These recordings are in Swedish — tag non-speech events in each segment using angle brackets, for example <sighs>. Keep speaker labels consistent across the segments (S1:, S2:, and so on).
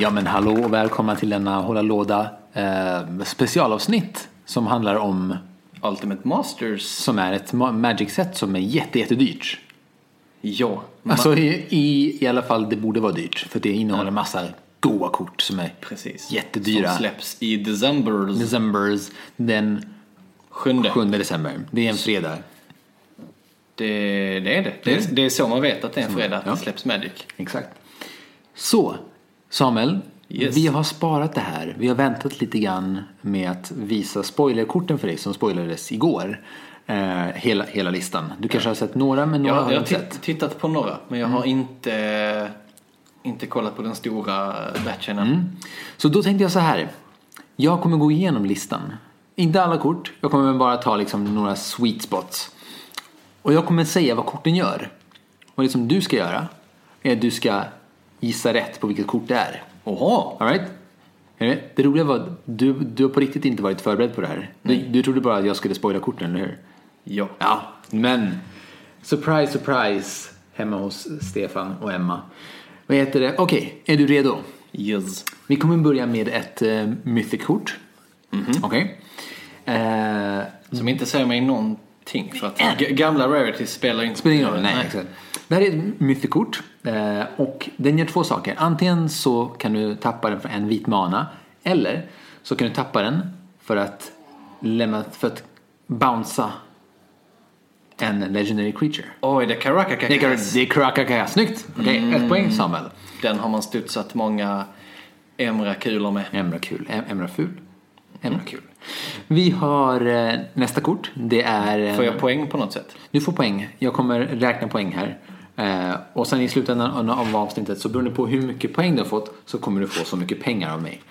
S1: Ja men hallå och välkomna till denna Hålla Låda eh, specialavsnitt som handlar om,
S2: Ultimate Masters.
S1: som är ett ma- Magic-set som är jätte, jättedyrt.
S2: Ja. ma-
S1: Alltså i, i, i alla fall det borde vara dyrt för det innehåller massa goa kort som är
S2: Precis.
S1: jättedyra.
S2: Som släpps i december.
S1: Decembers den
S2: Sjunde.
S1: 7 december. Det är en fredag.
S2: Det, det är det. Det är, det är så man vet att det är en fredag, att det
S1: Mm. ja.
S2: släpps Magic.
S1: Exakt. Så, Samuel.
S2: Yes.
S1: Vi har sparat det här. Vi har väntat lite grann med att visa spoilerkorten för dig som spoilades igår. Eh, hela, hela listan. Du kanske har sett några, men några
S2: Jag,
S1: har
S2: jag
S1: du
S2: har
S1: inte sett. Mm.
S2: titt, tittat på några, men jag har inte, inte kollat på den stora eh, batchen än.
S1: Mm. Så då tänkte jag så här. Jag kommer gå igenom listan. Inte alla kort. Jag kommer bara ta liksom några sweet spots. Och jag kommer säga vad korten gör. Och det som du ska göra är att du ska gissa rätt på vilket kort det är.
S2: Oha!
S1: All right? Är du med? Det roliga var att du, du har på riktigt inte varit förberedd på det här. Du, du trodde bara att jag skulle spoila korten, eller hur?
S2: Ja.
S1: Ja, men surprise, surprise hemma hos Stefan och Emma. Vad heter det? Okej, är du redo?
S2: Yes.
S1: Vi kommer börja med ett uh, mythic-kort. Okej. Eh,
S2: Som inte säger mig någonting för att g- gamla rarities spelar inte
S1: Spelar ingen roll, nej. Exakt. Det här är ett mythikort eh, och den gör två saker. Antingen så kan du tappa den för en vit mana eller så kan du tappa den för att lämna, för att bouncea en legendary creature.
S2: Oj, det är Karakaka.
S1: Det är- Det är Krakakaya, snyggt! Okej, ett poäng Samuel.
S2: Den har man studsat många Emra-kulor med.
S1: Emra kul, Em- Emra ful. Emra kul. Vi har eh, nästa kort, det är... eh, en-
S2: Får jag poäng på något sätt?
S1: Du får poäng. Jag kommer räkna poäng här. Eh, och sen i slutändan av avsnittet så beroende på hur mycket poäng du har fått så kommer du få så mycket pengar av mig.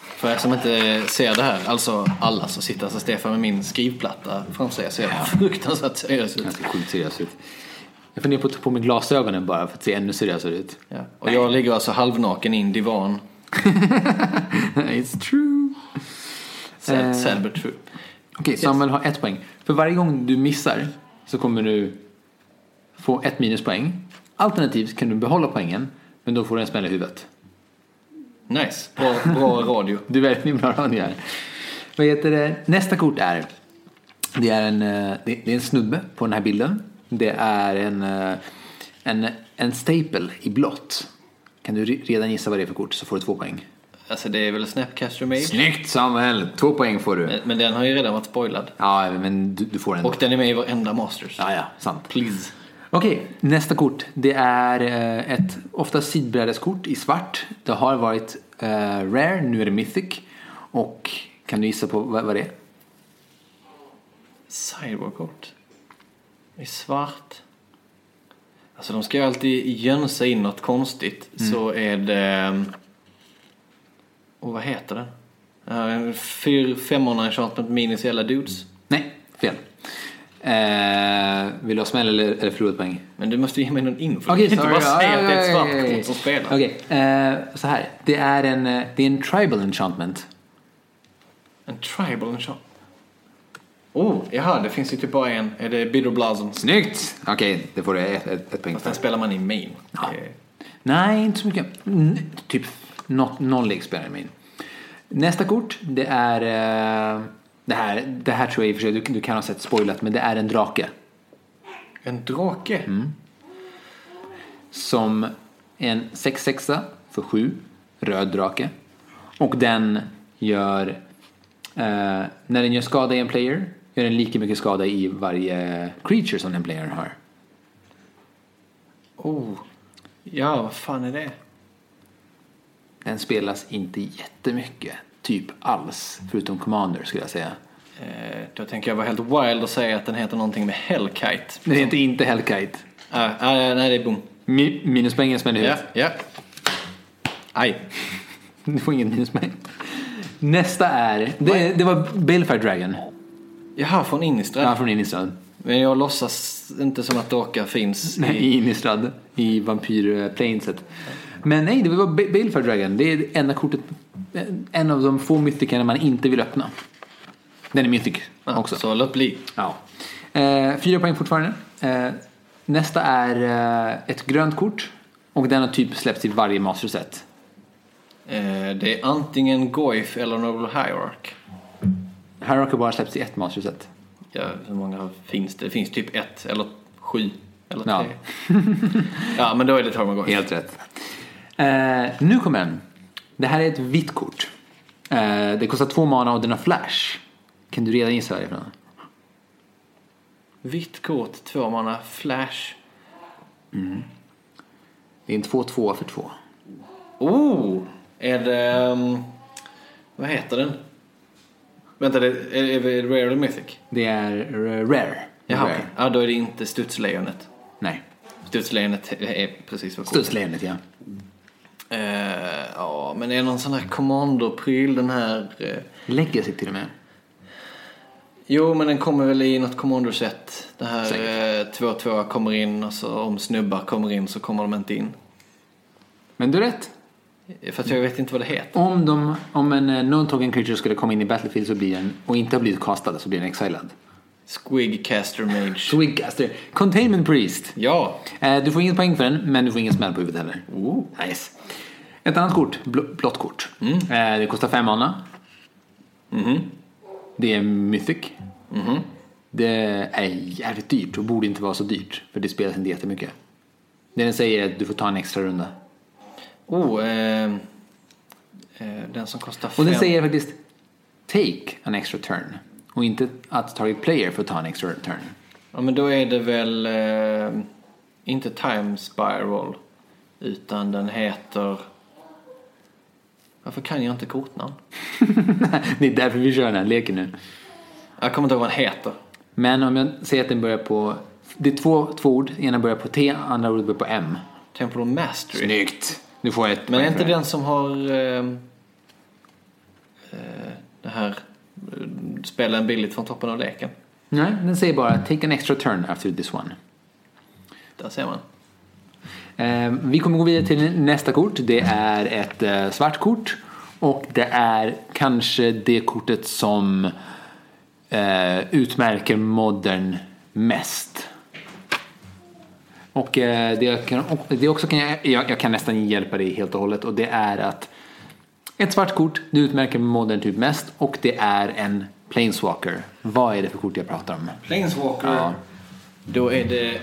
S2: För er som inte ser det här, alltså alla så sitter alltså Stefan med min skrivplatta framför sig. Jag ser fruktansvärt seriös ut.
S1: Ganska sjukt seriös ut. Jag funderar på att ta på mig glasögonen bara för att se ännu seriösare ut.
S2: Ja. Och jag ligger alltså halvnaken i en divan.
S1: <laughs> It's true.
S2: Sad, sad but true.
S1: Okej, Samuel har ett poäng. För varje gång du missar så kommer du få ett minuspoäng. Alternativt kan du behålla poängen men då får du en smäll i huvudet.
S2: Nice, bra, bra radio.
S1: Du är väldigt himla rörande här. Vad heter det? Nästa kort är. Det är en, eh, det det är en snubbe på den här bilden. Det är en, eh, en, en staple i blått. Kan du re- redan gissa vad det är för kort så får du två poäng.
S2: Alltså det är väl Snapcaster Mage?
S1: Snyggt Samuel! Två poäng får du.
S2: Men den har ju redan varit spoilad.
S1: Ja, men du, du får en.
S2: Och den är med i varenda Masters.
S1: Ja, ja, sant.
S2: Please.
S1: Okej, nästa kort. Det är eh, ett ofta sidbrädeskort i svart. Det har varit eh, rare, nu är det mythic. Och kan du gissa på vad, vad det är?
S2: Cyberkort. I svart. Alltså de ska ju alltid jönsa in något konstigt. Så är det... ehm, Och vad heter den? Ja, Fyr femmorna enchantment minus hela dudes.
S1: Nej, fel. Eh, vill du ha smäll eller, eller förlorat poäng?
S2: Men du måste ju ge mig någon info. du kan inte bara säga att det är ett svart kort som spelar.
S1: Okej, eh, så här. Det är, en, eh, det är en tribal enchantment.
S2: En tribal enchantment. Oh, jaha, det finns ju typ bara en. Är det Bitter Blossoms?
S1: Snyggt! Okej, det får du ett, ett, ett poäng för.
S2: Den spelar man i main. Eh,
S1: Nej, inte så mycket. N- typ något, någon lek spelar jag min. Nästa kort, det är... eh, det, här, det här tror jag i och för sig du, du kan ha sett spoilat, men det är en drake.
S2: En drake?
S1: som en 6 för 7, röd drake. Och den gör, eh, när den gör skada i en player, gör den lika mycket skada i varje creature som den playern har.
S2: Oh. Ja, vad fan är det?
S1: Den spelas inte jättemycket, typ alls, förutom Commander skulle jag säga.
S2: Eh, Då tänker jag vara helt wild och säga att den heter någonting med Hellkite.
S1: Men det heter inte Hellkite.
S2: Ah, ah, nej, det är Boom.
S1: Mi- Minuspoängen smäller i
S2: Ja,
S1: huvudet.
S2: ja. Aj.
S1: Du får ingen minuspoäng. Nästa är... Det, det var Balefire Dragon.
S2: Jaha, från Innistrad.
S1: Ja, från Innistrad.
S2: Men jag låtsas inte som att drakar finns.
S1: Nej, i Innistrad. I vampyrplaneset. Men nej, det var Ba- Balefire Dragon. Det är enda kortet... eh, En av de få mythikerna man inte vill öppna. Den är mythic
S2: Ah,
S1: också.
S2: Så låt bli.
S1: Ja. Eh, fyra poäng fortfarande. Eh, nästa är eh, ett grönt kort. Och den har typ släppts i varje master set.
S2: Eh, det är antingen Goif eller Noble Hierarch.
S1: Här har bara släppts i ett master set.
S2: Ja, hur många finns det? Det finns typ ett eller sju eller
S1: Ja.
S2: tre. <laughs> ja, men då är det Tormund Goif.
S1: Helt rätt. Eh, nu kommer den. Det här är ett vitt kort. Eh, det kostar två mana och den har flash. Kan du redan gissa härifrån?
S2: Vitt kort, två manna, flash.
S1: Det är en 2-2 för 2.
S2: Oh! Är det... ehm, vad heter den? Vänta, det är, är det Rare eller Mythic?
S1: Det är r- rare.
S2: Jaha,
S1: rare.
S2: okej. Ja, då är det inte Studslejonet.
S1: Nej.
S2: Studslejonet är precis vad coolt.
S1: Studslejonet, ja.
S2: Eh, ja, men är det någon sån här kommandopryl, den här... eh,
S1: Legacy till och med.
S2: Jo, men den kommer väl i något kommandosätt. Det här
S1: Säkert.
S2: eh, 2-2 kommer in och så om snubbar kommer in så kommer de inte in.
S1: Men du har rätt.
S2: Eh, För att
S1: Mm.
S2: jag vet inte vad det heter.
S1: Om, de, om en eh, non-token creature skulle komma in i Battlefield så blir den, och inte har blivit castad så blir den exilad.
S2: Squigcaster Mage.
S1: Swigcaster. Containment Priest.
S2: Ja!
S1: Eh, Du får ingen poäng för den, men du får ingen smäll på huvudet heller. Nice. Ett annat kort, bl- blått kort. Eh, Det kostar fem mana. Det är mythic. Det är jävligt dyrt och borde inte vara så dyrt, för det spelas inte jättemycket. Det den säger är att du får ta en extra runda.
S2: Oh, eh, eh, den som kostar fem.
S1: Och den säger faktiskt take an extra turn. Och inte att target player får ta en extra turn. <laughs>
S2: Ja, men då är det väl eh, inte Time Spiral utan den heter... Varför kan jag inte kortnamn?
S1: det är därför vi kör den här leken nu.
S2: Jag kommer inte ihåg vad den heter.
S1: Men om jag säger att den börjar på... Det är två, två ord. Ena börjar på T, andra ordet börjar på M.
S2: Temple of Mastery.
S1: Snyggt! Nu får jag ett
S2: Men är
S1: poäng
S2: inte
S1: för det.
S2: den som har eh, eh, det här eh, spelen billigt från toppen av leken?
S1: Nej, den säger bara take an extra turn after this one.
S2: Där ser man.
S1: Eh, vi kommer gå vidare till nästa kort. Det är ett eh, svart kort. Och det är kanske det kortet som eh, utmärker modern mest. Och eh, det, jag kan, och det också kan jag, jag, jag kan nästan hjälpa dig helt och hållet. Och det är att ett svart kort, det utmärker modern typ mest. Och det är en planeswalker. Vad är det för kort jag pratar om?
S2: Planeswalker.
S1: Ja.
S2: Då är det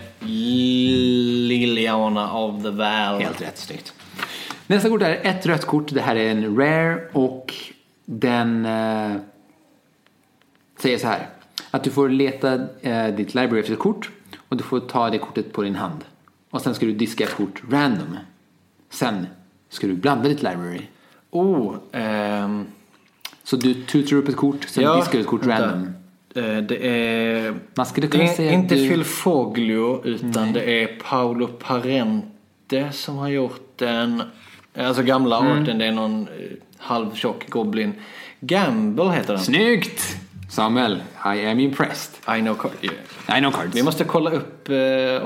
S2: Liliana of the Val.
S1: Helt rätt, snyggt. Nästa kort är ett rött kort. Det här är en rare och den eh, säger så här. Att du får leta eh, ditt library efter ett kort och du får ta det kortet på din hand. Och sen ska du diska ett kort random. Sen ska du blanda ditt library.
S2: Oh, ehm,
S1: Så du tutar upp ett kort, sen diskar du ett kort
S2: vänta.
S1: random.
S2: Eh, Det är...
S1: Man skulle kunna
S2: det är
S1: säga att
S2: inte
S1: du-
S2: Phil Foglio utan det är Paolo Parente som har gjort den. Alltså gamla
S1: Mm.
S2: arten, det är någon eh, halvtjock goblin. Gamble heter den.
S1: Snyggt! Samuel, I am impressed.
S2: I know card. yeah.
S1: I know cards.
S2: Vi måste kolla upp eh,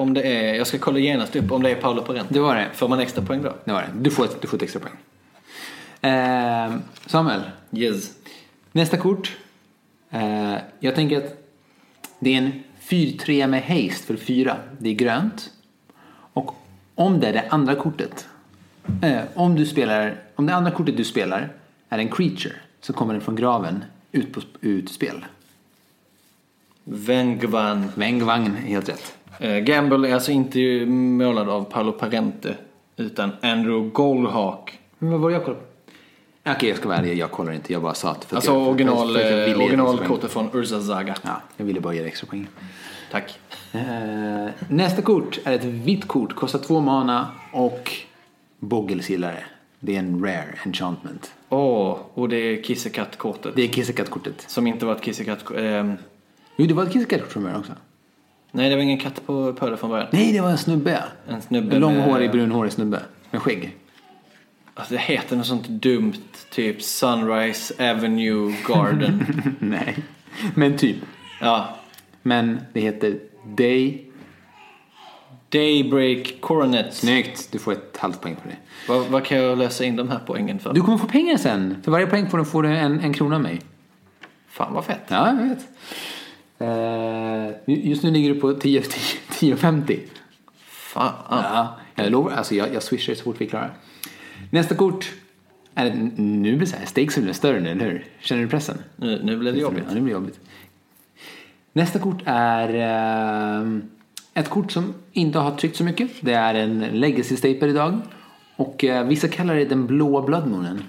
S2: om det är... Jag ska kolla genast upp om det är Paolo Parente.
S1: Det var det.
S2: Får man extra poäng då?
S1: Det var det. Du får ett, du får ett extra poäng. Eh, Samuel,
S2: Yes.
S1: Nästa kort. Eh, jag tänker att det är en 4-3 med haste för 4. Det är grönt. Och om det är det andra kortet. Eh, om, du spelar, om det andra kortet du spelar är en creature så kommer den från graven ut på ut spel.
S2: Vengvan.
S1: Vängvagn, helt rätt.
S2: Eh, Gamble är alltså inte ju målad av Paolo Parente utan Andrew Goldhawk.
S1: Men vad var det jag kollade på? Okej, jag ska vara ärlig. Jag kollar inte. Jag bara sa att... För att
S2: Alltså
S1: jag- för-
S2: original,
S1: för att jag ville ge
S2: eh,
S1: dig extra poäng.
S2: originalkortet från Urza Zaga.
S1: Ja, jag ville bara ge dig extra poäng.
S2: Tack.
S1: Eh, nästa kort är ett vitt kort, kostar två mana och Boggelsillare. Det är en rare enchantment.
S2: Åh, och det är Kissekatt-kortet.
S1: Det är Kissekatt-kortet.
S2: Som inte var ett kissekatt... ehm,
S1: Jo, det var ett Kissekatt-kort från början också.
S2: nej, det var ingen katt på, på det från början.
S1: Nej, det var en snubbe.
S2: En snubbe
S1: En långhårig,
S2: med-
S1: brunhårig snubbe. Med skägg. <laughs>
S2: Alltså det heter något sånt dumt, typ Sunrise Avenue
S1: <laughs>
S2: Garden.
S1: Nej, men typ.
S2: ja.
S1: Men det heter Day.
S2: Daybreak Coronet.
S1: Snyggt, du får ett halvt poäng på det.
S2: Vad, vad kan jag lösa in de här poängen för?
S1: Du kommer få pengar sen. För varje poäng får du, får du en, en krona av mig.
S2: Fan vad fett.
S1: Ja, jag vet. Eh, just nu ligger du på 10 10 10,50.
S2: Fan.
S1: Ja, jag lovar. Alltså jag, jag swishar så fort vi är klara. Nästa kort. Är, nu blir det så här, stakesen blir större nu, eller hur? Känner du pressen?
S2: Nu, nu blev det jobbigt.
S1: Ja, det blir jobbigt. Nästa kort är eh, ett kort som inte har tryckt så mycket. Det är en legacy staple idag. Och eh, vissa kallar det den blå bloodmoonen.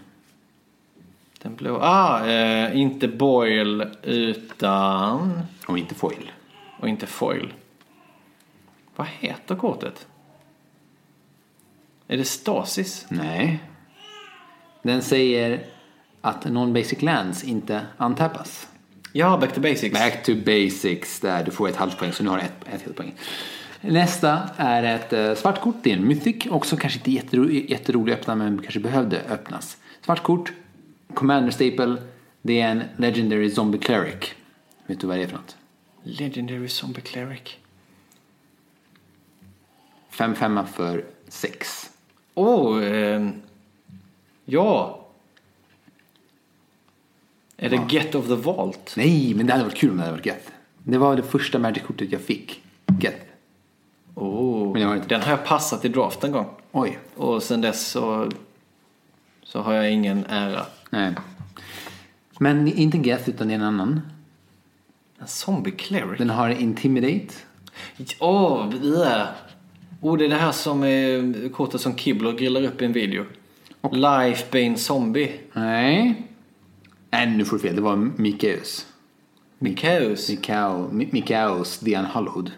S2: Den blå. Ah, eh, inte Boyle utan...
S1: Och inte foil.
S2: Och inte Foil. Vad heter kortet? Är det Stasis?
S1: Nej. Den säger att non-basic lands inte antappas.
S2: Ja, Back to Basics.
S1: Back to basics. Där du får ett halvt poäng, så nu har du ett, ett helt poäng. Nästa är ett eh, svart kort. Det är en mythic. Också kanske inte jättero, jätterolig att öppna, men kanske behövde öppnas. Svart kort, commander staple. Det är en legendary zombie cleric. Vet du vad det är för något?
S2: Legendary Zombie Cleric.
S1: 5-5 för 6.
S2: Åh! Oh, eh, ja! Är det Get of the Vault?
S1: Nej, men det hade varit kul om det hade varit gött. Det var det första magic-kortet jag fick. Gött. Men jag har
S2: Oh,
S1: inte-
S2: den har jag passat i draft en gång.
S1: Oj.
S2: Och sen dess så, så har jag ingen ära.
S1: Nej. Men inte Geth utan det är en annan.
S2: En zombie cleric?
S1: Den har Intimidate.
S2: Åh, yeah. oh, det är det här som är kortet som Kibler grillar upp i en video. Lifebane Zombie.
S1: Nej. Nej, nu får du fel. Det var Mikaeus.
S2: Mikaeus.
S1: Mikao, Mi- Mikaeus the Unhallowed.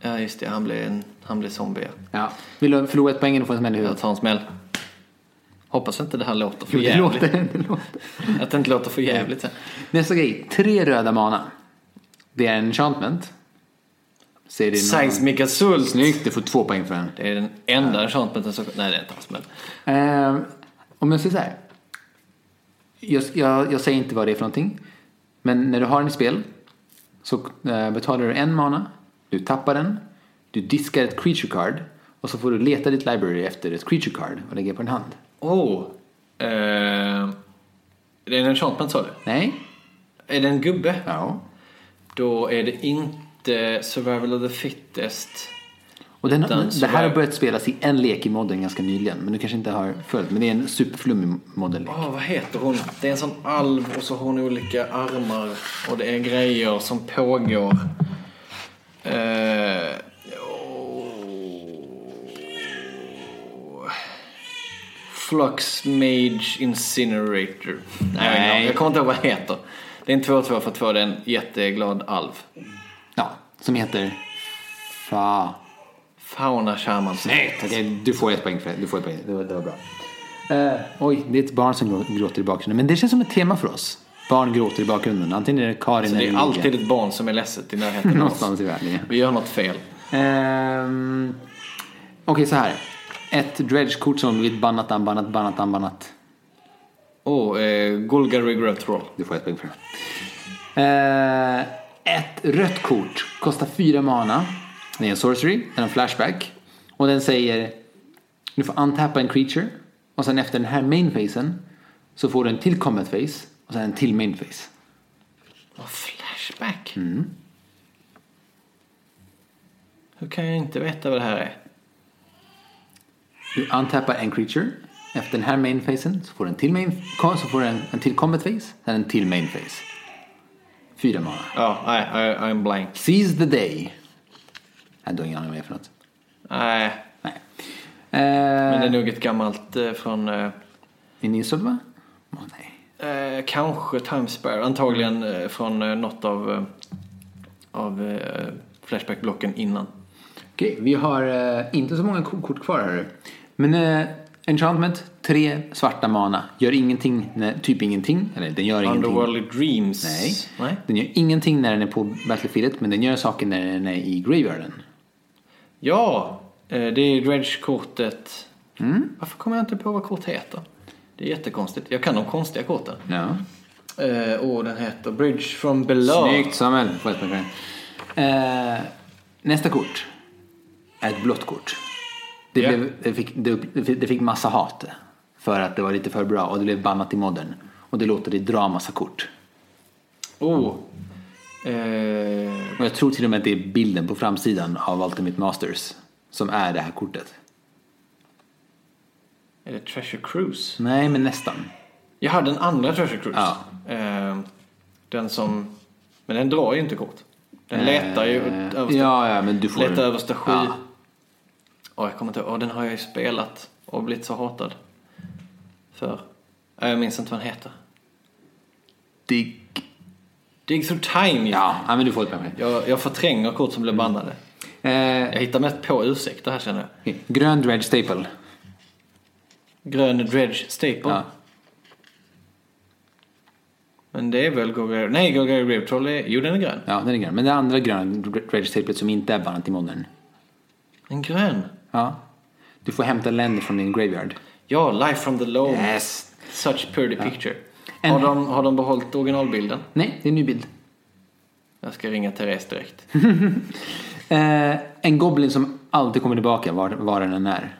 S2: Ja, just det. Han blev, en, han blev zombie. ja.
S1: Ja. Vill du förlora ett poäng eller få en smäll i
S2: Jag
S1: huvudet?
S2: tar en smäll. Hoppas inte det här låter
S1: Jo,
S2: för
S1: det
S2: jävligt.
S1: låter, det låter.
S2: <laughs> Att det inte låter för jävligt. sen.
S1: Nästa grej. Tre röda mana. Det är en enchantment. Ser det någon-
S2: Seismic Assault.
S1: Snyggt, du får två poäng för den.
S2: Det är den enda enchantmenten som... Nej, det är inte alls men.
S1: Eh, om jag säger så här. Jag, jag, jag säger inte vad det är för någonting. Men när du har den i spel så eh, betalar du en mana, du tappar den, du diskar ett creature card och så får du leta ditt library efter ett creature card och lägga på din hand.
S2: Oh. Eh, det är en enchantment sa du?
S1: Nej?
S2: Är det en gubbe?
S1: Ja.
S2: Då är det inte Survival of the Fittest.
S1: Och den,
S2: Utan så
S1: det här
S2: var-
S1: har börjat spelas i en lek i modden ganska nyligen, men du kanske inte har följt. Men det är en superflummig modellek.
S2: Åh, vad heter hon? Det är en sån alv och så har hon olika armar och det är grejer som pågår. Eh, åh. Flux Mage Incinerator. Nej,
S1: Nej.
S2: Jag, jag kommer inte ihåg vad det heter. Det är en 2-2 för 2, det är en jätteglad alv.
S1: Ja, som heter... Fa...
S2: Fauna Shaman.
S1: Snyggt! Okej, du får ett poäng för det. Du får ett poäng. Det var, det var bra. Eh, oj, det är ett barn som grå- gråter i bakgrunden. Men det känns som ett tema för oss. Barn gråter i bakgrunden. Antingen är det Karin
S2: Alltså, Det
S1: eller
S2: är
S1: Ulrika.
S2: alltid ett barn som är ledset i närheten av oss.
S1: någonstans i världen. Ja.
S2: Vi gör något fel.
S1: Ehm, Okej, så här. Ett dredge-kort som har blivit bannat, anbannat, bannat, anbannat.
S2: Åh, eh, Golga Regret Roll.
S1: Du får ett poäng för det. Eh, ett rött kort kostar fyra mana. Det är en sorcery, den har flashback. Och den säger du får untappa en creature och sen efter den här main phasen så får du en till combat phase och sen en till main phase.
S2: Och flashback? Hur kan jag inte veta vad det här är?
S1: Du untappar en creature. Efter den här main phasen så får du en till, main, så får du en, en till combat phase, sen en till main phase. Fyra mana.
S2: Ja, nej, I, I'm blank.
S1: Seize the day. Nej, du har ingen aning vad det är för något.
S2: Nej,
S1: Nej. Eh,
S2: men det är nog ett gammalt eh, från eh,
S1: Är ni Sölva? Åh nej.
S2: eh, kanske Timespire. Antagligen eh, från eh, något av, eh, av eh, Flashback-blocken innan.
S1: Okej, vi har eh, inte så många ko- kort kvar hörru. Men eh, Enchantment, tre svarta mana. Gör ingenting, när, typ ingenting. Eller den gör ingenting.
S2: Underworldly Dreams.
S1: Nej.
S2: Nej.
S1: Den gör ingenting när den är på Battlefieldet men den gör saker när den är i Graveyarden.
S2: Ja, eh, det är Dredge-kortet. Varför kommer jag inte på vad kort heter? Det är jättekonstigt. Jag kan de konstiga korten.
S1: Ja.
S2: Eh, och den heter Bridge from Below.
S1: Snyggt Samuel. Får ett poäng. Eh, nästa kort är ett blått kort. Det,
S2: Ja.
S1: blev, det, fick, det, upp- det fick- det fick massa hat för att det var lite för bra och det blev bannat i modden. Och det låter det dra massa kort.
S2: Oh. Eh,
S1: Och jag tror till och med att det är bilden på framsidan av Ultimate Masters som är det här kortet.
S2: är det Treasure Cruise?
S1: Nej, men nästan.
S2: Jag hade den andra Treasure Cruise.
S1: Ja.
S2: Eh, den som... Men den drar ju inte kort. Den letar ju
S1: Eh,
S2: överst-
S1: Ja, ja, men du får...
S2: Leta översta sju.
S1: Ja.
S2: Åh, jag kommer inte ihåg. Åh, den har jag ju spelat och blivit så hatad för. Nej, jag minns inte vad den heter.
S1: Dick.
S2: Dig through time ja.
S1: Ja, ja, men du får ett poäng.
S2: jag, jag förtränger kort som blir bannade.
S1: Eh,
S2: Jag hittar mest på ursäkter här känner jag.
S1: okej. grön dredge staple.
S2: Grön dredge staple.
S1: Ja.
S2: Men det är väl Gorgari... Nej, Gorgari Grave Troll är... Jo, den är grön.
S1: Ja, den är grön. Men det andra gröna dredge staplet som inte är bannat i modern.
S2: En grön.
S1: Ja. Du får hämta länder från din graveyard.
S2: Ja, Life from the Low.
S1: Yes.
S2: Such pretty picture.
S1: En-
S2: Har, de, har de behållit originalbilden?
S1: Nej, det är en ny bild.
S2: Jag ska ringa Therese direkt.
S1: <laughs> Eh, en goblin som alltid kommer tillbaka var, var den än är.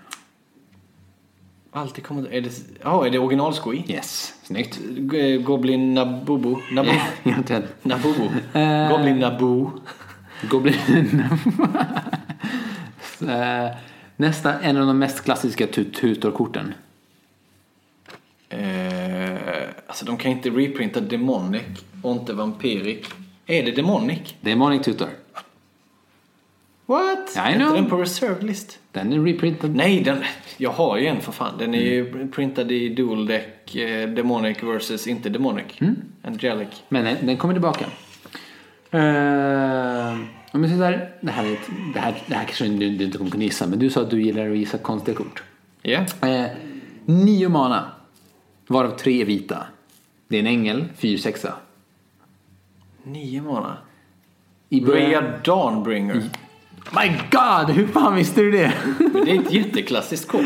S2: Alltid kommer... Är det, ja, är det originalskoj?
S1: Yes. Snyggt.
S2: G- Goblin Nabubu. Nabu,
S1: <laughs> Egentligen.
S2: <laughs> Nabubu.
S1: <laughs> Eh.
S2: Goblin Nabu.
S1: Goblin. <laughs> eh, nästa, en av de mest klassiska tut- tutorkorten.
S2: Eh, alltså de kan inte reprinta Demonic och inte Vampiric. Är det Demonic?
S1: Det är Morning Tutor.
S2: What?
S1: I
S2: Är
S1: know.
S2: Inte den på reserve list?
S1: Den är reprintad.
S2: Nej, den, jag har ju en för fan. Den är ju printad i dual deck, eh, Demonic versus inte Demonic. Angelic.
S1: Men den, den kommer tillbaka. Uh, men så där, det, här är ett, det, här, det här kanske du, du inte kommer kunna gissa, men du sa att du gillar att gissa konstiga kort.
S2: Ja.
S1: Eh, nio mana, varav tre är vita. Det är en ängel, 4-6.
S2: Nio Mm. månader.
S1: I början...
S2: Rhea Dawnbringer.
S1: My God! Hur fan visste du det? <laughs>
S2: Men Det är ett jätteklassiskt kort.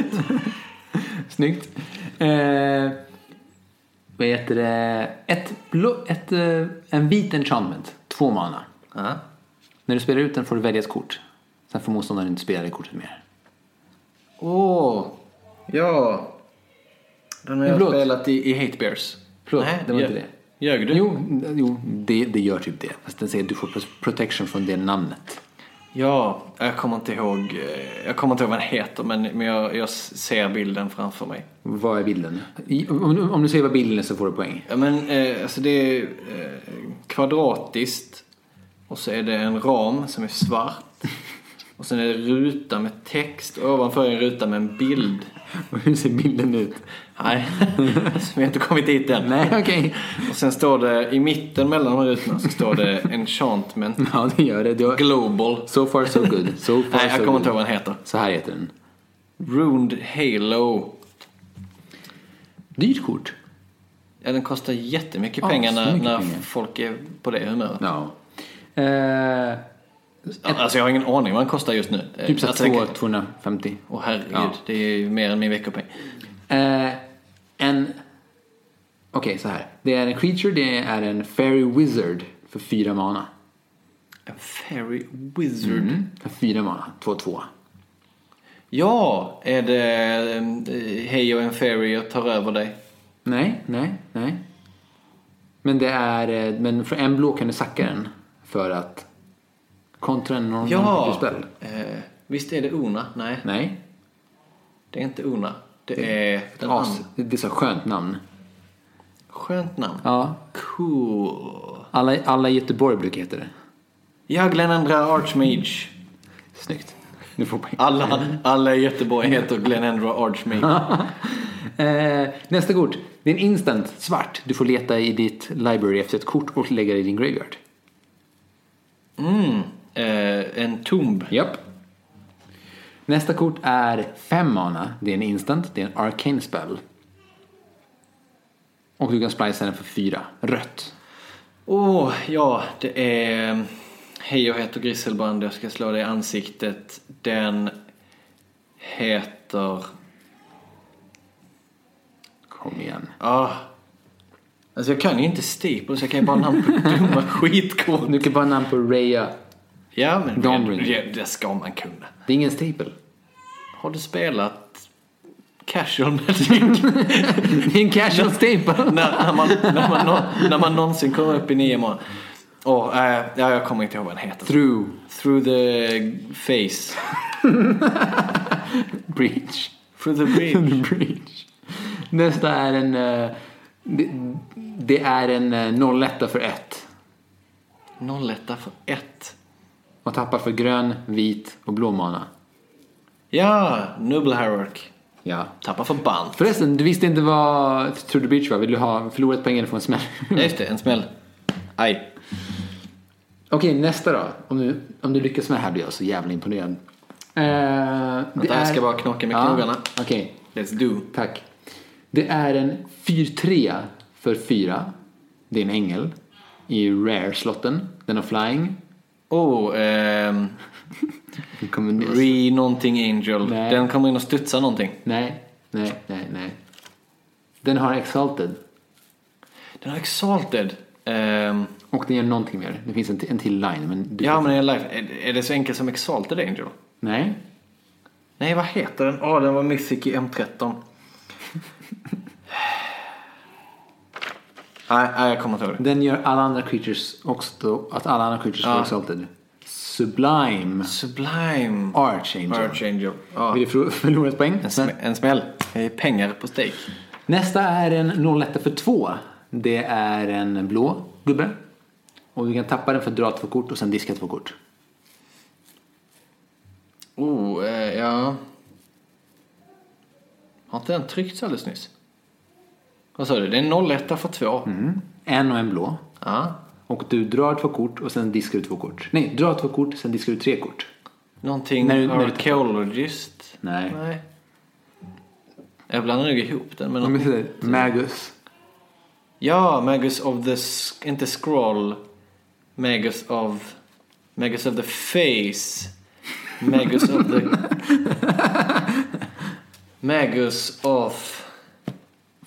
S1: Snyggt. Eh, vad heter det? Ett, blå, ett, eh, en vit enchantment, två mana.
S2: <laughs> Ja.
S1: När du spelar ut den får du välja ett kort. Sen får motståndaren inte spela det kortet mer.
S2: Åh, ja. Den har jag
S1: Blått.
S2: spelat i, i Hate Bears.
S1: Förlåt, det var inte
S2: ljög-
S1: det.
S2: Ljög du?
S1: Jo, jo det, det gör typ det. Fast den säger att du får protection från det namnet.
S2: Ja, jag kommer inte ihåg, eh, jag kommer inte ihåg vad den heter men, men jag, jag ser bilden framför mig.
S1: Vad är bilden? I, om, du- om du säger vad bilden är så får du poäng.
S2: Ja, men eh, alltså det är eh, kvadratiskt och så är det en ram som är svart
S1: <laughs>
S2: och sen är det ruta med text och ovanför är en ruta med en bild.
S1: Och <laughs> hur ser bilden ut?
S2: Nej, <laughs> alltså, vi har inte kommit dit än.
S1: Nej, okej.
S2: Och sen står det i mitten mellan de här rutorna så står det enchantment
S1: Ja, det gör det. Du har,
S2: global.
S1: so far so good. <laughs> So far,
S2: Nej,
S1: so
S2: jag kommer inte
S1: good.
S2: ihåg vad den heter.
S1: Så här heter den.
S2: Ruined Halo.
S1: Dyrt kort.
S2: Ja, den kostar jättemycket
S1: Ja,
S2: pengar
S1: så
S2: när,
S1: mycket
S2: när
S1: pengar.
S2: folk är på det humöret.
S1: Ja. Eh,
S2: Alltså jag har ingen aning vad den kostar just nu.
S1: typ så
S2: Eh,
S1: här
S2: alltså, det
S1: två-
S2: kan-
S1: 250.
S2: Åh herregud,
S1: Ja.
S2: det är ju mer än min veckopeng.
S1: Eh, en... Okej, så här. Det är en creature, det är en fairy wizard för fyra mana.
S2: En fairy wizard.
S1: För fyra mana, 2-2.
S2: Ja, är det eh, Hej och en fairy och tar över
S1: Mm,
S2: dig?
S1: Nej, nej, nej. Men det är... eh, Men för en blå kan du sacka den för att kontra en någon
S2: Ja!
S1: någon spel.
S2: Eh, visst är det Ona? Nej,
S1: Nej.
S2: det är inte Ona. Det, är den
S1: As,
S2: andra.
S1: det är så skönt namn.
S2: Skönt namn.
S1: Ja.
S2: Cool.
S1: Alla, alla i Göteborg brukar heta det.
S2: Ja, Glenn Andra Archmage.
S1: Snyggt. Du får poäng.
S2: Alla, alla i Göteborg heter Glenn Andra Archmage.
S1: <laughs> Eh, nästa kort. Det är en instant, svart. Du får leta i ditt library efter ett kort och lägga det i din graveyard.
S2: Mm. Eh, en tomb.
S1: Japp. Nästa kort är fem mana. Det är en instant, det är en arcane spell. Och du kan splicea den för fyra. Rött.
S2: Åh, ja, det är... mm, Hej, jag heter Grisselbrand jag ska slå dig i ansiktet. Den heter...
S1: Kom igen.
S2: Ah. Alltså jag kan ju inte Steeple så jag kan ju bara namn på <laughs> dumma skitkort.
S1: Du kan bara namn på Raya.
S2: Ja men
S1: Dawn
S2: det,
S1: Ring.
S2: det, det ska man kunna.
S1: Det är ingen staple. <laughs>
S2: Har du spelat casual Magic?
S1: Det är en casual staple.
S2: <laughs>
S1: <laughs>
S2: när, när, man, när, man, nå- när man någonsin kommer upp i nio månader. Åh, eh, ja, jag kommer inte ihåg vad den heter.
S1: Through
S2: Through the face.
S1: breach. <laughs>
S2: Through the bridge.
S1: breach. Nästa är en... eh, Det, det är en eh, 01 för ett.
S2: 01 för ett.
S1: Man tappar för grön, vit och blå mana.
S2: Ja, Nubble Hierarch.
S1: Ja.
S2: Tappa för band.
S1: Förresten, du visste inte vad Through the Breach var. Vill du ha förlorat pengar från en smäll?
S2: Ja, Just det, en smäll. Aj.
S1: <laughs> Okej, nästa då. Om du, om du lyckas med det här blir jag så jävla imponerad. Uh, det
S2: Vänta, jag ska bara knaka med knogarna.
S1: Okej,
S2: Let's do.
S1: tack. Det är en 4-3 för 4. Det är en ängel. I rare-slotten. Den har flying.
S2: Oh, ehm...
S1: Den kommer-
S2: Re någonting angel.
S1: Nej.
S2: Den kommer in och studsar någonting.
S1: Nej, nej, nej, nej. Den har exalted.
S2: Den har exalted. Ehm...
S1: Och den gör någonting mer. Det finns en, t- en till line. Men du
S2: ja, men är, life, är, är det så enkelt som exalted angel?
S1: Nej.
S2: Nej, vad heter den? Åh, den var mythic i M13. <sighs> nej, nej, jag kommer inte ihåg det.
S1: Den gör alla andra creatures också då, att alla andra creatures får exalted. Sublime
S2: Sublime. Ah.
S1: Archangel.
S2: Archangel. Ja.
S1: Vill du förlo- <laughs> förlora ett poäng?
S2: En, sm- en smäll. Det är pengar på stake.
S1: Nästa är en 01 för 2. Det är en blå gubbe. Och du kan tappa den för att dra två kort och sen diska två kort.
S2: Oh, eh, ja. Har inte den tryckts alldeles nyss? Vad sa du? Det är 01 för 2.
S1: Mm. En och en blå.
S2: Ja.
S1: Och du drar två kort och sen diskar du två kort. Nej, dra två kort, sen diskar du tre kort.
S2: Någonting
S1: När du- när du-
S2: archaeologist?
S1: Nej.
S2: Nej. Jag blandar nog ihop den
S1: Ja,
S2: med något.
S1: men sådär, Magus.
S2: Ja, Magus of the... Sk- Inte scroll. Magus of... Magus of the face. Magus of the... <laughs> Magus of...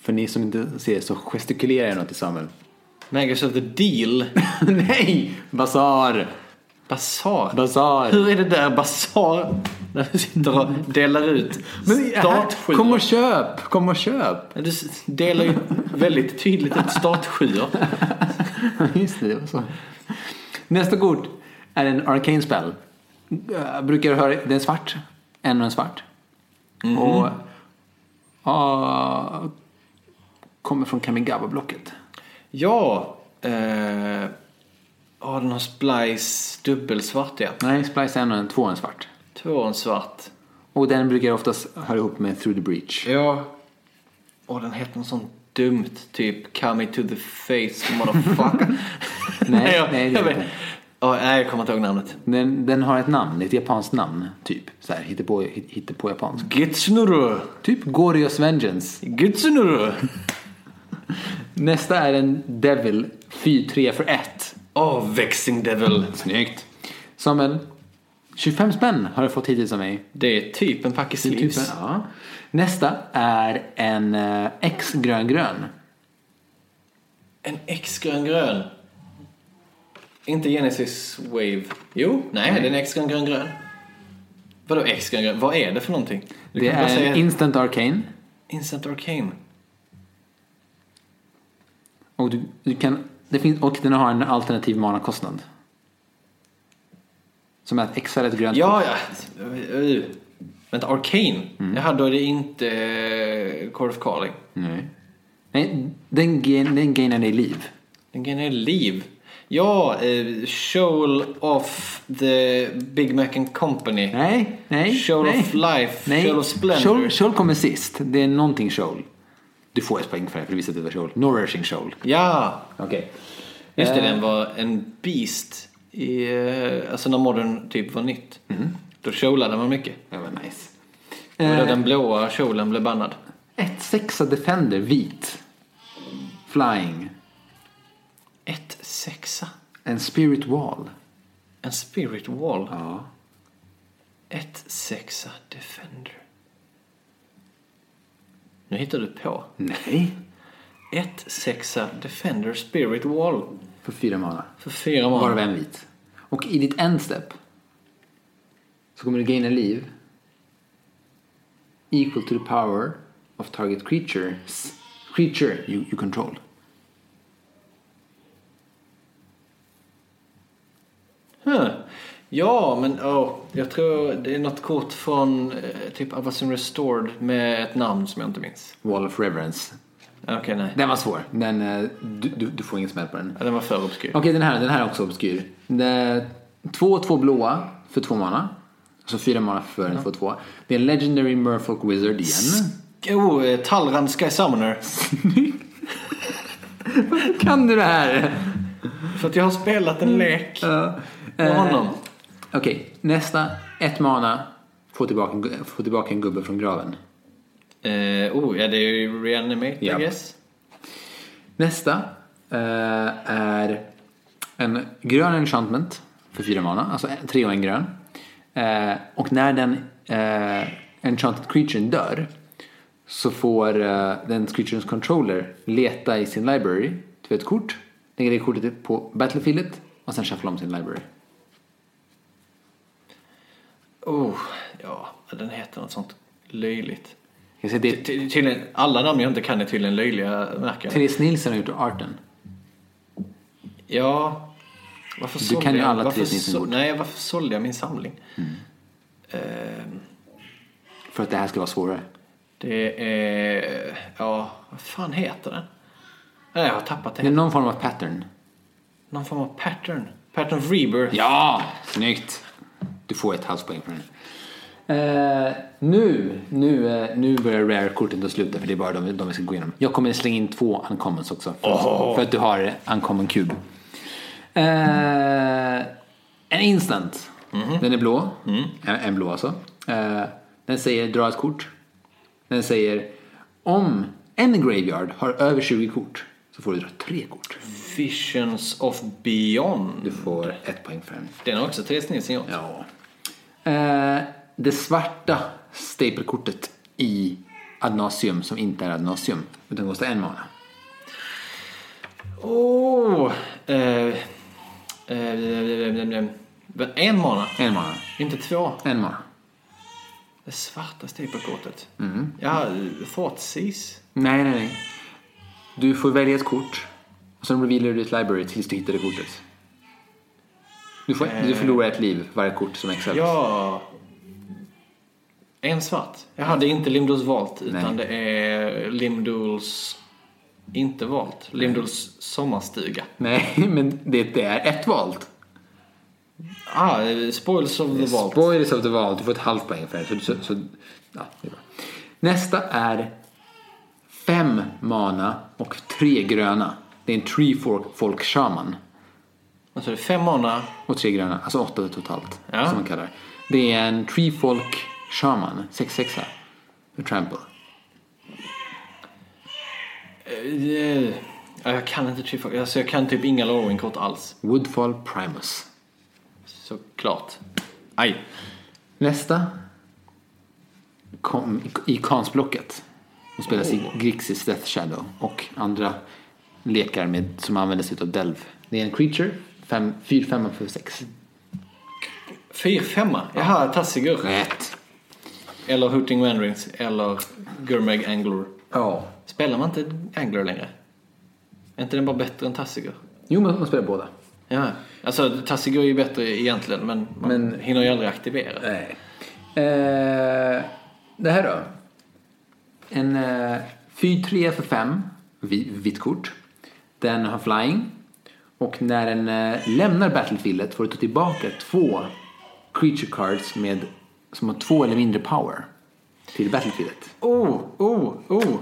S1: För ni som inte ser så gestikulerar jag något till Samuel. <laughs>
S2: Magus of the deal.
S1: Nej! Basar!
S2: Basar.
S1: Basar!
S2: Hur är det där basar? När du sitter och delar ut startsjuor.
S1: kom och köp! Kom och köp!
S2: Du s- delar ju väldigt tydligt ut startsjuor.
S1: Just det, det var så. Nästa kort är en arcane spell. Jag brukar höra, det är en svart. En och en svart. Och ja, kommer från Kamigawa-blocket.
S2: Ja. Eh, ja, den har splice dubbelsvart ja.
S1: Nej, splice en och en, två och en svart.
S2: Två och en svart.
S1: Och den brukar oftast höra ihop med Through the Breach.
S2: Ja. Och den heter något sånt dumt. Typ Come to the face motherfucker.
S1: <laughs> Nej,
S2: jag,
S1: nej, det är
S2: jag,
S1: inte.
S2: vet. Ja, nej, jag kommer inte ihåg namnet.
S1: Den, den har ett namn, ett japanskt namn. Typ så här, hittepå, hit- hittepå japansk.
S2: Gitsunuru.
S1: Typ Gorios Vengeance.
S2: Gitsunuru.
S1: Nästa är en Devil 4-3 för 1.
S2: Åh, vexing devil.
S1: Snyggt. Samuel, 25 spänn har du fått hittills av mig.
S2: Det är typ en pack i sleeves.
S1: Ja. Nästa är en eh, X grön grön.
S2: En X-grön grön. Inte Genesis Wave. Jo, nej, det är en X-grön grön grön. Vadå X-grön grön? Vad är det för någonting? Du
S1: Det
S2: kan bara
S1: är
S2: säga
S1: en Instant Arcane.
S2: Instant Arcane.
S1: Och, du, du kan, det finns, och den har en alternativ manakostnad. Som är att X är ett grönt
S2: Ja, ja. Uh, Vänta, Arcane? Jaha, då är det inte eh, Court of Calling.
S1: Nej. Nej, den, gain, den gainar dig liv.
S2: Den grejen är liv. Ja, uh, Shoal of the Big Mac and Company.
S1: Nej, nej,
S2: Shoal
S1: nej.
S2: of Life.
S1: Nej.
S2: Shoal of Splendor.
S1: Shoal, Shoal kommer sist. Det är någonting Shoal. Du får ett poäng för det, för du visste att det var Shoal. Nourishing Shoal.
S2: Ja,
S1: Okej. Eh,
S2: Just det, den Eh, var en beast i, eh, alltså när modern typ var nytt. Då kjolade man mycket.
S1: Det var nice.
S2: Det var då
S1: Eh,
S2: den blåa kjolen blev bannad.
S1: 1-6 Defender, vit. Flying.
S2: Ett sexa.
S1: En spirit wall.
S2: En spirit wall.
S1: Ja.
S2: Ett sexa defender. Nu hittar du på.
S1: Nej.
S2: Ett sexa Defender Spirit Wall
S1: För fyra månader.
S2: för fyra månader.
S1: Varav en vit. Och i ditt endstep så kommer du gaina liv equal to the power of target creatures creature you, you control.
S2: Huh. Ja, men åh, jag tror det är något kort från eh, typ Avacyn Restored med ett namn som jag inte minns.
S1: Wall of Reverence.
S2: Okej, nej.
S1: Den var svår. Den, eh, du, du, du får ingen smäll på den.
S2: Ja, Den var för obskyr.
S1: Okej, den här, den här är också obskyr. Det- Två och två blåa för två mana. Alltså fyra mana för en två två. Det är Legendary Merfolk Wizard igen.
S2: Oh, eh, Talran Sky Summoner.
S1: <laughs> Kan du det här?
S2: För att jag har spelat en lek
S1: Mm.
S2: med
S1: Eh.
S2: honom.
S1: Okej, nästa. Ett mana. Få tillbaka, en gu- få tillbaka en gubbe från graven.
S2: Eh, oh, ja det är ju Reanimate
S1: Ja.
S2: I guess.
S1: Nästa eh, är en grön enchantment för fyra mana, alltså en- tre och en grön. Eh, och när den uh, enchanted creaturen dör så får eh, den creaturens controller leta i sin library till ett kort, lägga det kortet på battlefieldet och sen shuffla om sin library.
S2: Oh, ja, den heter något sånt löjligt.
S1: Jag ser det
S2: Ty-
S1: är
S2: ty- Tydligen, alla namn jag inte kan är tydligen löjliga, märker jag.
S1: Therese Nilsson har gjort arten.
S2: Ja, varför sålde
S1: kan ju
S2: jag-
S1: alla
S2: varför
S1: tre
S2: så,
S1: Disneykort.
S2: Nej, varför sålde jag min samling?
S1: Mm.
S2: Ehm,
S1: För att det här ska vara svårare.
S2: det är... Ja, vad fan heter den? Nej, jag har tappat
S1: Det är
S2: det.
S1: någon form av pattern.
S2: Någon form av pattern. Pattern of rebirth.
S1: Ja, snyggt. Du får ett halspoäng för den. Eh, nu, nu, eh, nu börjar rare-korten ta slut för det är bara de, de vi ska gå igenom. Jag kommer slänga in två uncommons också. För, för att du har uncommon kub. Eh, en instant. Den är blå. En, en blå alltså. Eh, den säger dra ett kort. Den säger om en graveyard har över 20 kort så får du dra tre kort.
S2: Visions of beyond.
S1: Du får ett poäng för den.
S2: Den har också Therese Nilsson gjort.
S1: Ja. Eh, det svarta stapelkortet i Adnasium som inte är Adnasium utan kostar en mana.
S2: Åh! Eh, eh, en månad.
S1: En mana.
S2: Inte två.
S1: En mana.
S2: Det svarta stapelkortet. Mm. Ja, thoughtseas.
S1: Nej, nej, nej. Du får välja ett kort och sen revealar du ditt library tills du hittar det kortet. Du, får, du förlorar ett liv varje kort som extra.
S2: Ja. En svart. Jaha, det är inte Limduls valt utan det är Limduls... Inte valt. Limduls sommarstuga.
S1: Nej, men det, det är ett valt.
S2: Ah, eh, Spoils of the Vault.
S1: Spoilers of the Vault. Du får ett halvt poäng för det. Så, så, så, ja, det är bra. Nästa är fem mana och tre gröna. Det är en tree folk, folk shaman.
S2: Alltså det är fem månader.
S1: Och tre gröna, alltså åtta totalt.
S2: Ja.
S1: Som man kallar det. Det är en tree folk shaman, 6-6 för trample.
S2: Eh, eh, ja, Jag kan inte Chief Alltså jag kan typ inga Lorwing-kort alls.
S1: Woodfall primus.
S2: Såklart. Aj.
S1: Nästa kom i kansblocket. Hon spelas i Grixis Death Shadow och andra lekar med, som använder sig av Delv. Det är en creature, 4, 5 för 6.
S2: Fyr femma. Jaha, Tassigur.
S1: Rätt.
S2: Eller Hooting Wanderings. Eller Gurmag Angler.
S1: Ja.
S2: Spelar man inte Angler längre? Är inte den bara bättre än Tassigur?
S1: Jo, men man spelar båda.
S2: Ja, alltså Tassigur är ju bättre egentligen men man
S1: Men-
S2: hinner ju aldrig aktivera.
S1: Nej. Eh, det här då. En eh, 4-3 för 5, vitt kort. Den har flying. Och när den eh, lämnar battlefieldet får du ta tillbaka två creature cards med, som har två eller mindre power till battlefieldet.
S2: Oh, oh, oh!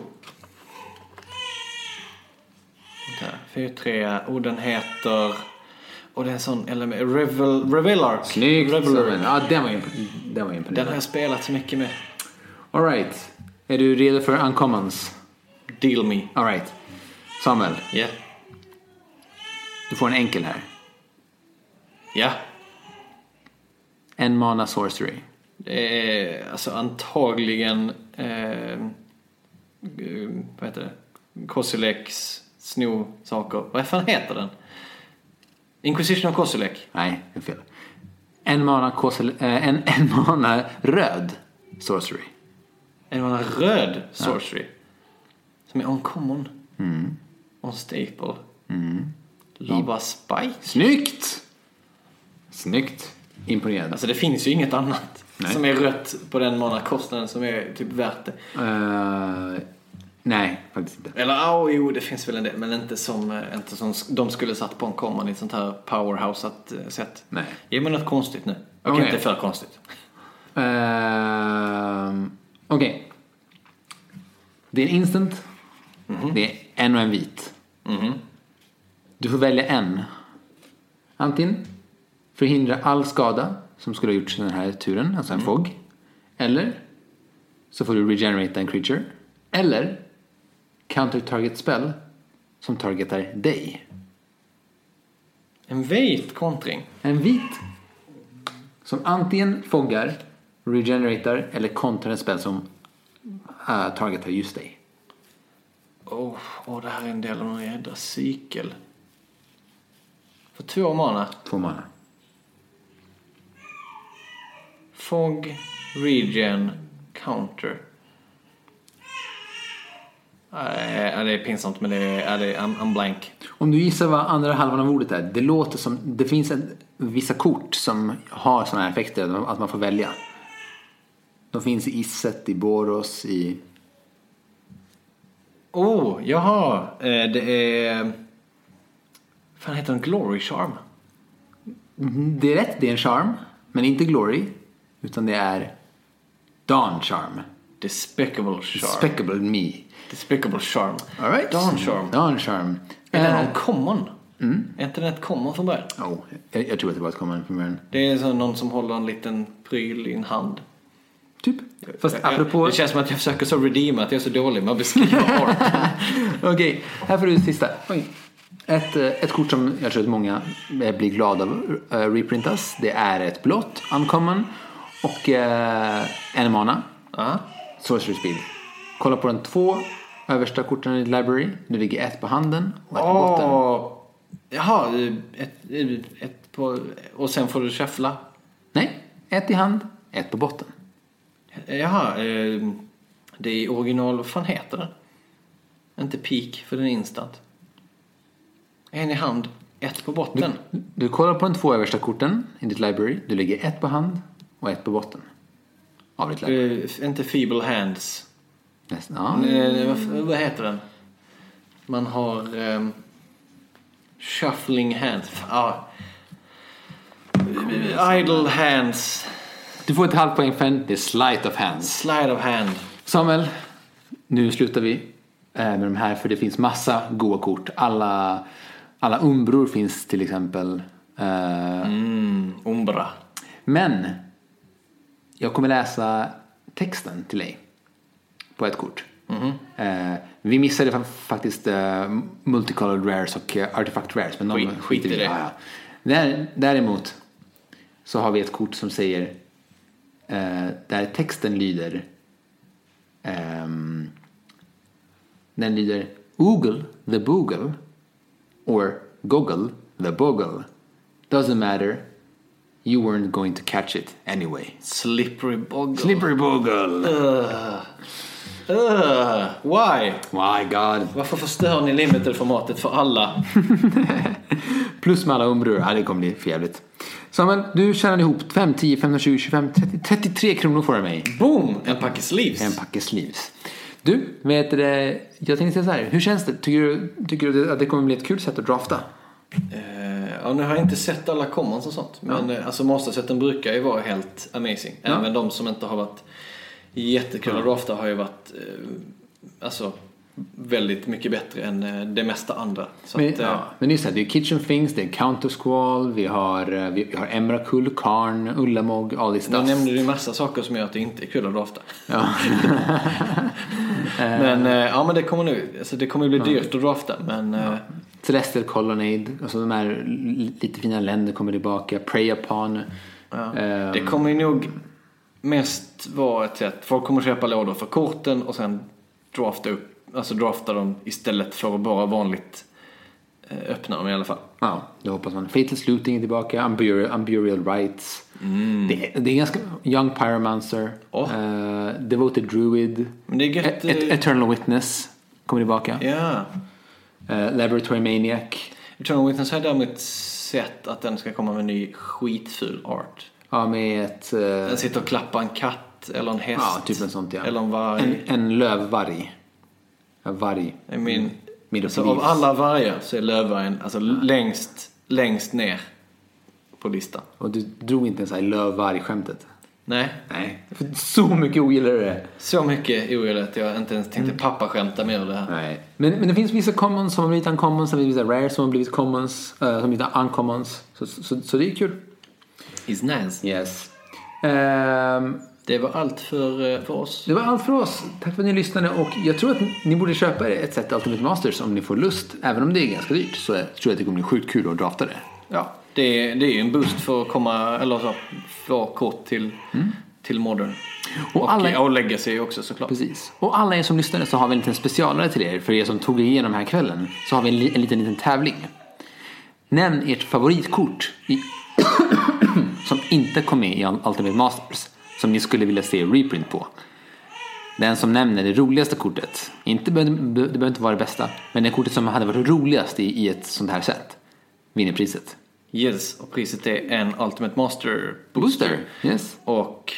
S2: Vänta, 4-3, oh den heter... Och det är en sån element, Revel, Revelark.
S1: Snyggt!
S2: Reveler.
S1: Simon. Ja, den var imp- den var
S2: Den har
S1: imponerande.
S2: jag spelat så mycket med.
S1: Alright. Är du redo för uncommons?
S2: Deal me.
S1: Alright. Samuel,
S2: Ja.
S1: du får en enkel här.
S2: Ja.
S1: En mana sorcery.
S2: Det är alltså antagligen eh, eh, vad heter det? Kossileks sno saker. Vad fan heter den? Inquisition of Kossilek.
S1: Nej, det är fel. En mana, kosel, eh, en, en mana röd sorcery.
S2: En annan röd sorcery. Som är uncommon. Mm. Unstaple. Mm. Lava Spike.
S1: Snyggt! Snyggt. Imponerande.
S2: Alltså det finns ju inget annat
S1: Nej.
S2: som är rött på den månadskostnaden som är typ värt det.
S1: Eh, nej, faktiskt inte.
S2: Eller ja, jo det finns väl en del men inte som, eh, inte som sk- de skulle satt på en common i ett sånt här powerhouse sätt.
S1: Nej.
S2: Ge mig något konstigt nu. Okej,
S1: Okej.
S2: inte för konstigt.
S1: Ehm, Okej. Det är en instant. Det är en och en vit. Du får välja en. Antingen förhindra all skada som skulle ha gjorts den här turen, alltså en fog. Eller så får du regenerate en creature. Eller counter target spell som targetar dig.
S2: En vit kontring.
S1: En vit som antingen foggar, regeneratar eller kontrar en spel som uh, targetar just dig.
S2: Åh, åh, det här är en del av någon jädra cykel. För två mana.
S1: Två mana.
S2: Fog, regen, counter. Nej, Eh, det är pinsamt men det är, det är I'm, I'm blank.
S1: Om du gissar vad andra halvan av ordet är. Det låter som, det finns en, vissa kort som har sådana här effekter, att man får välja. De finns i Isset, i Boros, i...
S2: Oh, jaha. Eh, Det är... fan heter den? Glory Charm?
S1: Mhm, Det är rätt, det är en charm. Men inte glory. Utan det är Dawn charm.
S2: Despicable Charm.
S1: Speckable me.
S2: Despicable Charm.
S1: All right. Mm.
S2: Dawn Charm.
S1: Dawn charm.
S2: Är det
S1: Eh,
S2: någon common?
S1: Mm.
S2: Är inte den ett common från början?
S1: Oh, jag, jag tror att det var ett kommande från början.
S2: Det är så någon som håller en liten pryl i en hand.
S1: Typ. Fast
S2: Jag- jag-
S1: apropå...
S2: Det känns som att jag försöker så redeema att jag är så dålig med att beskriva
S1: <laughs>
S2: art.
S1: Okej, här får du sista. Oj. Ett, eh, ett kort som jag tror att många eh, blir glada av eh, reprintas. Det är ett blått, uncommon. Och eh, en mana.
S2: Ja.
S1: Sorcery speed. Kolla på de två översta korten i library. Nu ligger ett på handen och ett på botten.
S2: Åh. Jaha, ett, ett på... Och sen får du shuffla.
S1: Nej, ett i hand, ett på botten.
S2: Jaha, eh, det är original... Vad fan heter den? Inte peak, för den är instant. En i hand, ett på botten.
S1: Du kollar på de två översta korten i ditt library. Du lägger ett på hand och ett på botten. Av ditt library.
S2: Eh, inte feeble hands.
S1: Nästan. Ja.
S2: Eh, vad, f- vad heter den? Man har... ehm, shuffling hands. F- Ja. Idle hands.
S1: Du får ett halvt poäng för en. Det är sleight of hands.
S2: Slide of hand.
S1: Samuel, nu slutar vi eh, med de här för det finns massa goa kort. Alla, alla umbror finns till exempel. Eh,
S2: Umbra.
S1: Men jag kommer läsa texten till dig på ett kort.
S2: Mhm.
S1: Eh, vi missade fa- faktiskt eh, multicolored rares och eh, artifact rares. Men de
S2: Skit- skit i det.
S1: Ja, ja. Där, däremot så har vi ett kort som säger eh, där texten lyder ehm, den lyder Oogle the Boogle or Goggle the Bogle. Doesn't matter. You weren't going to catch it anyway.
S2: Slippery boggle.
S1: Slippery Bogle!
S2: Ugh, why?
S1: My God.
S2: Varför förstör ni limited-formatet för alla?
S1: Plus med alla umbror. Ja, det kommer bli för jävligt. Samuel, du tjänar ihop 5, 10, 15, 20, 25, 30, 33 kronor får du av mig.
S2: Boom! En packe sleeves.
S1: En packe sleeves. Du, vet du, det? jag tänkte säga så här. Hur känns det? Tycker du, tycker du att det kommer bli ett kul sätt att drafta?
S2: Eh, ja, nu har jag inte sett alla commons och sånt. Men ja. alltså mastersätten brukar ju vara helt amazing. Även de som inte har varit jättekul att drafta har ju varit eh, alltså, väldigt mycket bättre än eh, det mesta andra. Så
S1: Men,
S2: att, eh,
S1: ja. men det är så här, det är Kitchen Things, det är Counter Squall, vi har, eh, vi, vi har Emrakul, Karn, Ullamog, all this
S2: Nu
S1: stuff.
S2: nämnde du ju massa saker som gör att det inte är kul att drafta.
S1: Ja.
S2: <laughs> Men, eh, ja, men det kommer nu. Alltså, det kommer ju bli dyrt att drafta. Men, eh,
S1: Celestial Colonnade, alltså de här l- lite fina länder kommer tillbaka, Prey Upon. Eh,
S2: Det kommer ju nog mest vara ett sätt. Folk kommer köpa lådor för korten och sen drafta, upp, alltså drafta dem istället för att bara vanligt eh, öppna dem i alla fall.
S1: Ja, det hoppas man. Fatal Sluting är tillbaka, Unburial, Unburial Rights. Det, det är ganska... Young Pyromancer.
S2: Åh.
S1: eh, Devoted Druid.
S2: Men det är gött.
S1: Et,
S2: eh,
S1: et, Eternal Witness kommer tillbaka.
S2: Ja.
S1: Eh, Laboratory Maniac.
S2: Eternal Witness har jag däremot sett att den ska komma med en ny skitful art.
S1: Ja, med ett... eh,
S2: Den sitter och klappar en katt eller en häst.
S1: ja, typ en sånt ja.
S2: Eller en varg.
S1: En, en lövvarg. En varg.
S2: I mean,
S1: Middle
S2: alltså,
S1: police.
S2: av alla vargar så är lövvargen alltså, längst, längst ner på listan.
S1: Och du drog inte ens här lövvarg-skämtet?
S2: Nej,
S1: Nej. För <laughs> så mycket ogillar du det.
S2: så mycket ogillar jag att jag inte ens
S1: Mm.
S2: tänkte pappa skämta mer om det här.
S1: Nej. Men, men det finns vissa commons som har blivit uncommons, som har blivit rare som har blivit commons, eh, som har blivit uncommons. Så, så, så, så det är kul.
S2: Is nice.
S1: Yes. Ehm,
S2: Det var allt för, eh, för oss.
S1: det var allt för oss. Tack för att ni lyssnade och jag tror att ni borde köpa ett set Ultimate Masters om ni får lust. Även om det är ganska dyrt så tror jag att det kommer bli sjukt kul att drafta det.
S2: Ja, det är, det är ju en boost för att komma, eller så, för kort till, till modern.
S1: Mm. Och
S2: Och,
S1: alla-
S2: och lägga sig också såklart.
S1: Precis. Och alla er som lyssnade så har vi en liten specialare till er. För er som tog er igenom den här kvällen så har vi en, li- en liten, liten tävling. Nämn ert favoritkort i <coughs> som inte kom med i Ultimate Masters som ni skulle vilja se reprint på. Den som nämner det roligaste kortet, inte, be- be- det behöver inte vara det bästa, men det kortet som hade varit roligast i, i ett sånt här set vinner priset.
S2: Yes, och priset är en Ultimate Master
S1: Booster! Yes.
S2: Och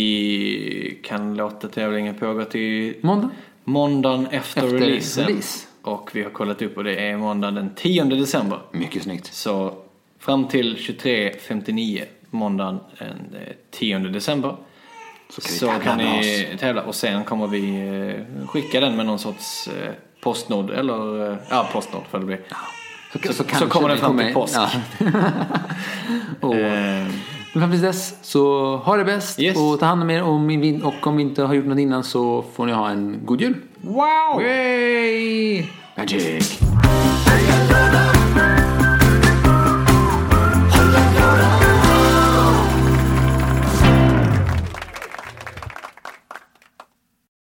S2: vi kan låta tävlingen pågå till
S1: Måndag?
S2: måndagen efter,
S1: Efter
S2: releasen.
S1: release.
S2: Och vi har kollat upp och det är måndagen den 10 december.
S1: Mycket snyggt.
S2: Så fram till 23.59 måndagen den eh, 10 december
S1: Så kan vi
S2: så
S1: tävla
S2: kan
S1: med
S2: ni tävla och sen kommer vi eh, skicka den med någon sorts eh, postnod eller eh, ja postnod får det bli.
S1: Så,
S2: Så- så
S1: kanske
S2: kommer den
S1: vi
S2: fram till påsk.
S1: Ja.
S2: <laughs>
S1: och,
S2: Eh,
S1: Men fram tills dess så ha det bäst
S2: Yes.
S1: och ta hand om er om vi, och om vi inte har gjort något innan så får ni ha en god jul.
S2: wow!
S1: Yay! Magic!
S3: Are you